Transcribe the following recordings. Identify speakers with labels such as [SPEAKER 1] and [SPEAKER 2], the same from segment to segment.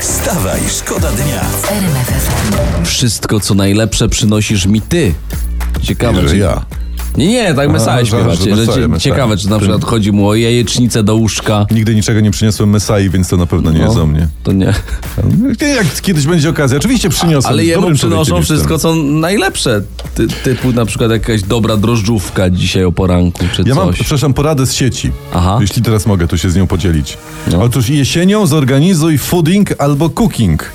[SPEAKER 1] Wstawaj, szkoda dnia.
[SPEAKER 2] Wszystko, co najlepsze przynosisz mi ty. Ciekawe,
[SPEAKER 3] Że
[SPEAKER 2] czy...
[SPEAKER 3] ja.
[SPEAKER 2] Nie, nie, tak mesaj
[SPEAKER 3] tak,
[SPEAKER 2] śpiewacie. Że
[SPEAKER 3] że tak. Messiah,
[SPEAKER 2] cie-
[SPEAKER 3] Messiah.
[SPEAKER 2] ciekawe, czy na przykład chodzi mu o jajecznicę do łóżka.
[SPEAKER 3] Nigdy niczego nie przyniosłem Mesai, więc to na pewno
[SPEAKER 2] No.
[SPEAKER 3] nie jest o mnie.
[SPEAKER 2] To nie.
[SPEAKER 3] Nie, Jak kiedyś będzie okazja, oczywiście przyniosłem.
[SPEAKER 2] Ale jemu
[SPEAKER 3] Dobrym
[SPEAKER 2] przynoszą
[SPEAKER 3] człowiekiem
[SPEAKER 2] wszystko,
[SPEAKER 3] jestem.
[SPEAKER 2] co najlepsze. Ty, typu na przykład jakaś dobra drożdżówka dzisiaj o poranku, czy
[SPEAKER 3] Ja mam,
[SPEAKER 2] coś.
[SPEAKER 3] przepraszam, poradę z sieci.
[SPEAKER 2] Aha.
[SPEAKER 3] Jeśli teraz mogę, to się z nią podzielić.
[SPEAKER 2] No.
[SPEAKER 3] Otóż jesienią zorganizuj fooding albo cooking.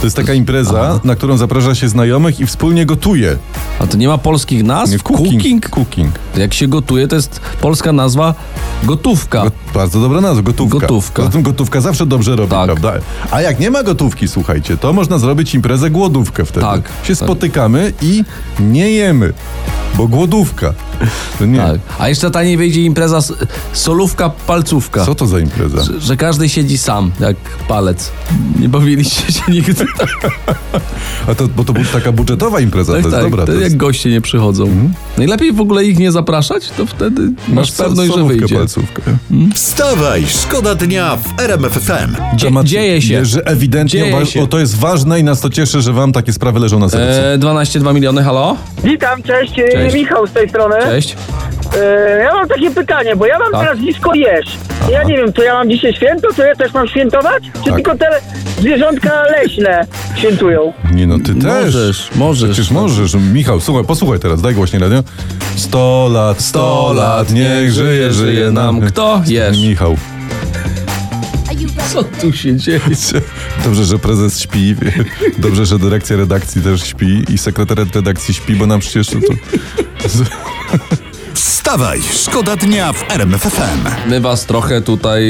[SPEAKER 3] To jest taka impreza, na którą zaprasza się znajomych i wspólnie gotuje.
[SPEAKER 2] A to nie ma polskich nazw?
[SPEAKER 3] Cooking. cooking.
[SPEAKER 2] To Jak się gotuje, to jest polska nazwa gotówka.
[SPEAKER 3] Go- bardzo dobra nazwa, gotówka.
[SPEAKER 2] Gotówka.
[SPEAKER 3] Zatem gotówka zawsze dobrze robi,
[SPEAKER 2] Tak.
[SPEAKER 3] prawda? A jak nie ma gotówki, słuchajcie, to można zrobić imprezę głodówkę wtedy.
[SPEAKER 2] Tak, tak.
[SPEAKER 3] Się spotykamy i nie jemy, bo głodówka. To nie.
[SPEAKER 2] tak. A jeszcze taniej wyjdzie impreza s- solówka, palcówka.
[SPEAKER 3] Co to za impreza?
[SPEAKER 2] tak. Że- Że każdy siedzi sam, jak palec. Nie bawiliście się nigdy. Tak,
[SPEAKER 3] A to, bo to była taka budżetowa impreza, to
[SPEAKER 2] tak,
[SPEAKER 3] jest dobra.
[SPEAKER 2] to
[SPEAKER 3] to
[SPEAKER 2] jak
[SPEAKER 3] jest... Mhm.
[SPEAKER 2] goście nie przychodzą. Najlepiej w ogóle ich nie zapraszać, to wtedy masz
[SPEAKER 3] so-
[SPEAKER 2] pewność, że
[SPEAKER 3] solówkę,
[SPEAKER 2] wyjdzie.
[SPEAKER 3] Palcówkę.
[SPEAKER 1] Wstawaj, szkoda dnia w RMFFM.
[SPEAKER 2] Dzie-
[SPEAKER 3] Temat-
[SPEAKER 2] dzieje się.
[SPEAKER 3] Że ewidentnie
[SPEAKER 2] Dzieje
[SPEAKER 3] wa-
[SPEAKER 2] się.
[SPEAKER 3] O, to jest ważne i nas to cieszy, że wam takie sprawy leżą na sercu.
[SPEAKER 2] E, 12,2 miliony, halo?
[SPEAKER 4] Witam, cześć, e,
[SPEAKER 2] Cześć.
[SPEAKER 4] Michał z tej strony.
[SPEAKER 2] Cześć.
[SPEAKER 4] E, ja mam takie pytanie, bo ja mam
[SPEAKER 2] Tak.
[SPEAKER 4] teraz blisko jesz. Ja nie wiem, to ja mam dzisiaj święto, to ja też mam świętować?
[SPEAKER 2] Tak.
[SPEAKER 4] Czy tylko te zwierzątka leśne świętują?
[SPEAKER 3] Nie no, ty też.
[SPEAKER 2] Eee, Możesz, możesz.
[SPEAKER 3] Przecież możesz. Michał, słuchaj, posłuchaj teraz, daj głośniej radio. 100 lat, 100 lat, niech żyje, żyje nam.
[SPEAKER 2] Kto? Jesz.
[SPEAKER 3] Michał.
[SPEAKER 2] Co tu się dzieje?
[SPEAKER 3] Dobrze, że prezes śpi. Dobrze, że dyrekcja redakcji też śpi i sekretariat redakcji śpi, bo nam przecież to...
[SPEAKER 1] Wstawaj, szkoda dnia w RMFFM.
[SPEAKER 2] My was trochę tutaj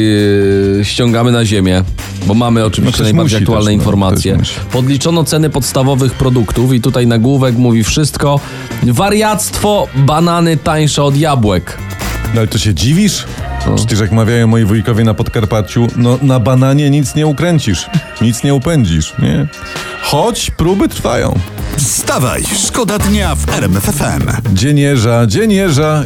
[SPEAKER 2] yy, ściągamy na ziemię, bo mamy oczywiście
[SPEAKER 3] ktoś
[SPEAKER 2] najbardziej
[SPEAKER 3] musi
[SPEAKER 2] aktualne
[SPEAKER 3] też, no,
[SPEAKER 2] informacje.
[SPEAKER 3] ktoś musi.
[SPEAKER 2] Podliczono ceny podstawowych produktów i tutaj nagłówek mówi wszystko. Wariactwo, banany tańsze od jabłek.
[SPEAKER 3] No ale to się dziwisz? Przecież jak mawiają moi wujkowie na Podkarpaciu, no na bananie nic nie ukręcisz, nic nie upędzisz, nie? Choć próby trwają.
[SPEAKER 1] Wstawaj, szkoda dnia w RMFFM.
[SPEAKER 3] Dzień jeża, dzień jeża.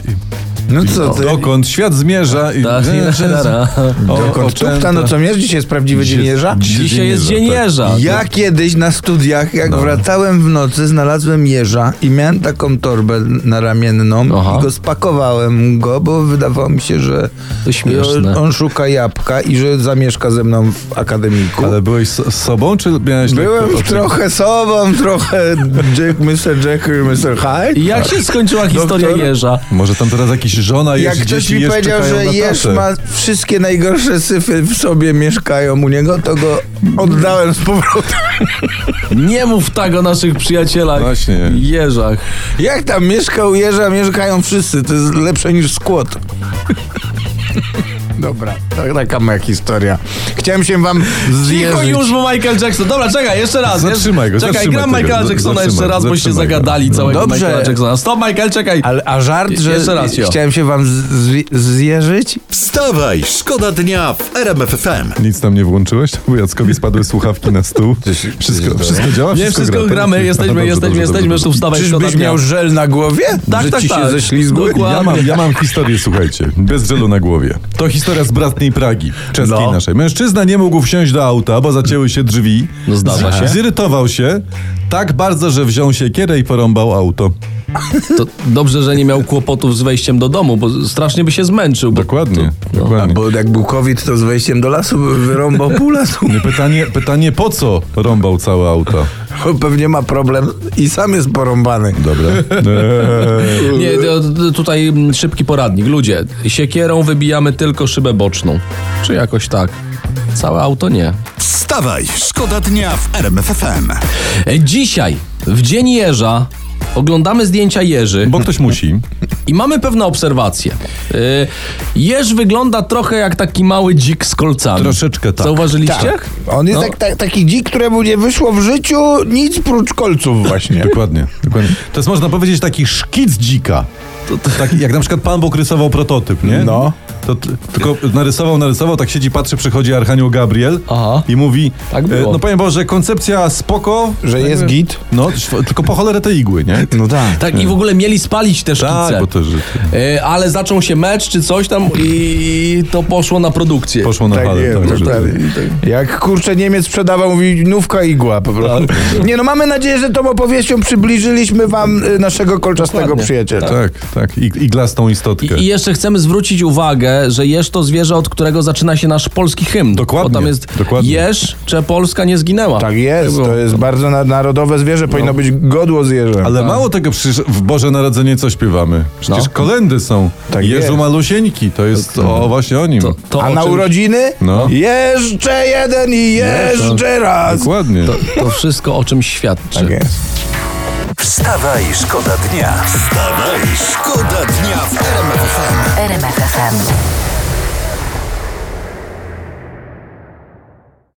[SPEAKER 3] No
[SPEAKER 5] co ty?
[SPEAKER 3] Dokąd świat zmierza. I...
[SPEAKER 2] Da, da, da, da.
[SPEAKER 3] O,
[SPEAKER 5] Dokąd
[SPEAKER 3] oczęta.
[SPEAKER 5] tupta, no co miesz? Dzisiaj jest prawdziwy dzień jeża?
[SPEAKER 2] Dzisiaj jest dzień
[SPEAKER 3] tak.
[SPEAKER 2] jeża.
[SPEAKER 5] Ja kiedyś na studiach, jak wracałem w nocy, znalazłem jeża i miałem taką torbę naramienną
[SPEAKER 2] Aha.
[SPEAKER 5] i go spakowałem go, bo wydawało mi się, że
[SPEAKER 2] To śmieszne.
[SPEAKER 5] on, on szuka jabłka i że zamieszka ze mną w akademiku.
[SPEAKER 3] Ale byłeś so- z sobą, czy miałeś...
[SPEAKER 5] Byłem
[SPEAKER 3] lekko-
[SPEAKER 5] trochę sobą, trochę Jack, Mr. Jack i Mr. Hyde. Tak.
[SPEAKER 2] I Jak
[SPEAKER 3] tak.
[SPEAKER 2] się skończyła historia
[SPEAKER 5] Doktor?
[SPEAKER 2] jeża?
[SPEAKER 3] Może tam teraz jakiś żona
[SPEAKER 5] Jak
[SPEAKER 3] jest,
[SPEAKER 5] ktoś
[SPEAKER 3] dzieci
[SPEAKER 5] mi
[SPEAKER 3] jeż
[SPEAKER 5] powiedział,
[SPEAKER 3] czekają
[SPEAKER 5] że
[SPEAKER 3] na
[SPEAKER 5] jeż
[SPEAKER 3] tatę.
[SPEAKER 5] ma wszystkie najgorsze syfy w sobie mieszkają u niego, to go oddałem z powrotem.
[SPEAKER 2] Nie mów tak o naszych przyjacielach.
[SPEAKER 3] Właśnie.
[SPEAKER 2] Jeżach.
[SPEAKER 5] Jak tam mieszkał jeża, mieszkają wszyscy. To jest lepsze niż skłot. Dobra, to taka moja historia. Chciałem się wam
[SPEAKER 2] Cicho
[SPEAKER 5] zjeżdżyć.
[SPEAKER 2] już, bo Michael Jackson. Dobra, czekaj, jeszcze raz.
[SPEAKER 3] Zatrzymaj go,
[SPEAKER 2] Czekaj,
[SPEAKER 3] zatrzymaj
[SPEAKER 2] gram
[SPEAKER 3] tego,
[SPEAKER 2] Michaela
[SPEAKER 3] za-
[SPEAKER 2] Jacksona jeszcze
[SPEAKER 3] zatrzymaj,
[SPEAKER 2] raz, boście
[SPEAKER 3] zatrzymaj go.
[SPEAKER 2] zagadali całego
[SPEAKER 5] Dobrze.
[SPEAKER 2] Michaela Jacksona. Stop, Michael, czekaj.
[SPEAKER 5] Ale, a żart, że
[SPEAKER 2] Jeszcze raz, jo.
[SPEAKER 5] chciałem się wam z- zwi- zjeżyć?
[SPEAKER 1] Wstawaj, szkoda dnia w RMFFM.
[SPEAKER 3] Nic tam nie włączyłeś? Bo Jackowi spadły słuchawki na stół. Wszystko, wszystko działa?
[SPEAKER 2] Nie, wszystko
[SPEAKER 3] gra?
[SPEAKER 2] gramy,
[SPEAKER 3] Dobrze,
[SPEAKER 2] jesteśmy,
[SPEAKER 3] dobrze,
[SPEAKER 2] jesteśmy,
[SPEAKER 3] dobrze,
[SPEAKER 2] jesteśmy,
[SPEAKER 3] dobrze,
[SPEAKER 2] tu wstawaj, tak szkoda
[SPEAKER 5] Czyżbyś
[SPEAKER 2] dnia.
[SPEAKER 5] miał żel na głowie?
[SPEAKER 2] Tak,
[SPEAKER 5] że
[SPEAKER 2] tak,
[SPEAKER 5] ci się
[SPEAKER 2] tak.
[SPEAKER 5] ześlizgły?
[SPEAKER 2] Dokładnie.
[SPEAKER 3] Ja mam, ja mam historię, słuchajcie, bez żelu na głowie. To historia z bratniej Pragi, czeskiej
[SPEAKER 2] No.
[SPEAKER 3] naszej. Mężczyzna nie mógł wsiąść do auta, bo zacięły się drzwi.
[SPEAKER 2] No zdarza
[SPEAKER 3] Z-
[SPEAKER 2] się.
[SPEAKER 3] Zirytował się tak bardzo, że wziął siekierę i porąbał auto.
[SPEAKER 2] To dobrze, że nie miał kłopotów z wejściem do domu, bo strasznie by się zmęczył. Bo
[SPEAKER 3] Dokładnie,
[SPEAKER 5] A
[SPEAKER 3] dokładnie.
[SPEAKER 5] bo jak był COVID, to z wejściem do lasu wyrąbał pół lasu.
[SPEAKER 3] Pytanie, pytanie, po co rąbał całe auto?
[SPEAKER 5] Pewnie ma problem i sam jest porąbany.
[SPEAKER 3] Dobra. Eee,
[SPEAKER 2] nie, to- to tutaj mm, szybki poradnik. Ludzie, siekierą wybijamy tylko szybę boczną. Czy jakoś tak. Całe auto nie.
[SPEAKER 1] Wstawaj, szkoda dnia w RMFFM.
[SPEAKER 2] E, Dzisiaj, w Dzień Jeża, oglądamy zdjęcia Jeży
[SPEAKER 3] bo ktoś musi.
[SPEAKER 2] I mamy pewne obserwacje. Yy, jeż wygląda trochę jak taki mały dzik z kolcami.
[SPEAKER 3] Troszeczkę tak.
[SPEAKER 2] Zauważyliście?
[SPEAKER 5] Tak. On jest
[SPEAKER 2] No.
[SPEAKER 5] tak, tak, taki dzik, któremu nie wyszło w życiu nic prócz kolców właśnie.
[SPEAKER 3] Dokładnie, dokładnie. To jest można powiedzieć taki szkic dzika. Tak, jak na przykład Pan Bóg rysował prototyp, nie?
[SPEAKER 5] No.
[SPEAKER 3] To t- tylko narysował, narysował, tak siedzi, patrzy, przychodzi Archanioł Gabriel
[SPEAKER 2] Aha.
[SPEAKER 3] i mówi,
[SPEAKER 2] Tak było.
[SPEAKER 3] no powiem Boże, koncepcja spoko.
[SPEAKER 5] Że jest git?
[SPEAKER 3] No, szw- tylko po cholerę te igły, nie?
[SPEAKER 5] No tak.
[SPEAKER 2] Tak, i w ogóle mieli spalić te szkice.
[SPEAKER 3] Tak, bo to że
[SPEAKER 2] Yy, ale zaczął się mecz czy coś tam i to poszło na produkcję.
[SPEAKER 3] poszło na
[SPEAKER 5] Tak,
[SPEAKER 3] falę.
[SPEAKER 5] jest,
[SPEAKER 3] tak, że-
[SPEAKER 5] dokładnie. Jak kurczę Niemiec sprzedawał, mówi nówka igła po prostu. Nie no, mamy nadzieję, że tą opowieścią przybliżyliśmy wam y, naszego kolczastego
[SPEAKER 2] Dokładnie.
[SPEAKER 5] przyjaciela.
[SPEAKER 3] tak, tak. I, iglastą istotkę.
[SPEAKER 2] I, I jeszcze chcemy zwrócić uwagę, że jeż to zwierzę, od którego zaczyna się nasz polski hymn.
[SPEAKER 3] Dokładnie,
[SPEAKER 2] Bo tam jest
[SPEAKER 3] dokładnie.
[SPEAKER 2] jeż, czy Polska nie zginęła.
[SPEAKER 5] Tak jest, to jest bardzo na- narodowe zwierzę, powinno być godło zwierzę.
[SPEAKER 3] Ale mało tego, przecież w Boże Narodzenie co śpiewamy? Przecież
[SPEAKER 2] No.
[SPEAKER 3] kolendy są.
[SPEAKER 5] Tak
[SPEAKER 3] Jeżu
[SPEAKER 5] jest.
[SPEAKER 3] Malusieńki, to jest o, właśnie o nim.
[SPEAKER 2] To, to
[SPEAKER 5] A
[SPEAKER 2] o
[SPEAKER 5] na
[SPEAKER 2] czym-
[SPEAKER 5] urodziny?
[SPEAKER 3] No.
[SPEAKER 5] Jeszcze jeden i jeszcze raz.
[SPEAKER 3] Dokładnie.
[SPEAKER 2] To wszystko o czym świadczy.
[SPEAKER 5] Tak jest.
[SPEAKER 1] Wstawaj, szkoda dnia. Wstawaj, szkoda dnia w RMF FM.
[SPEAKER 6] RMFFM.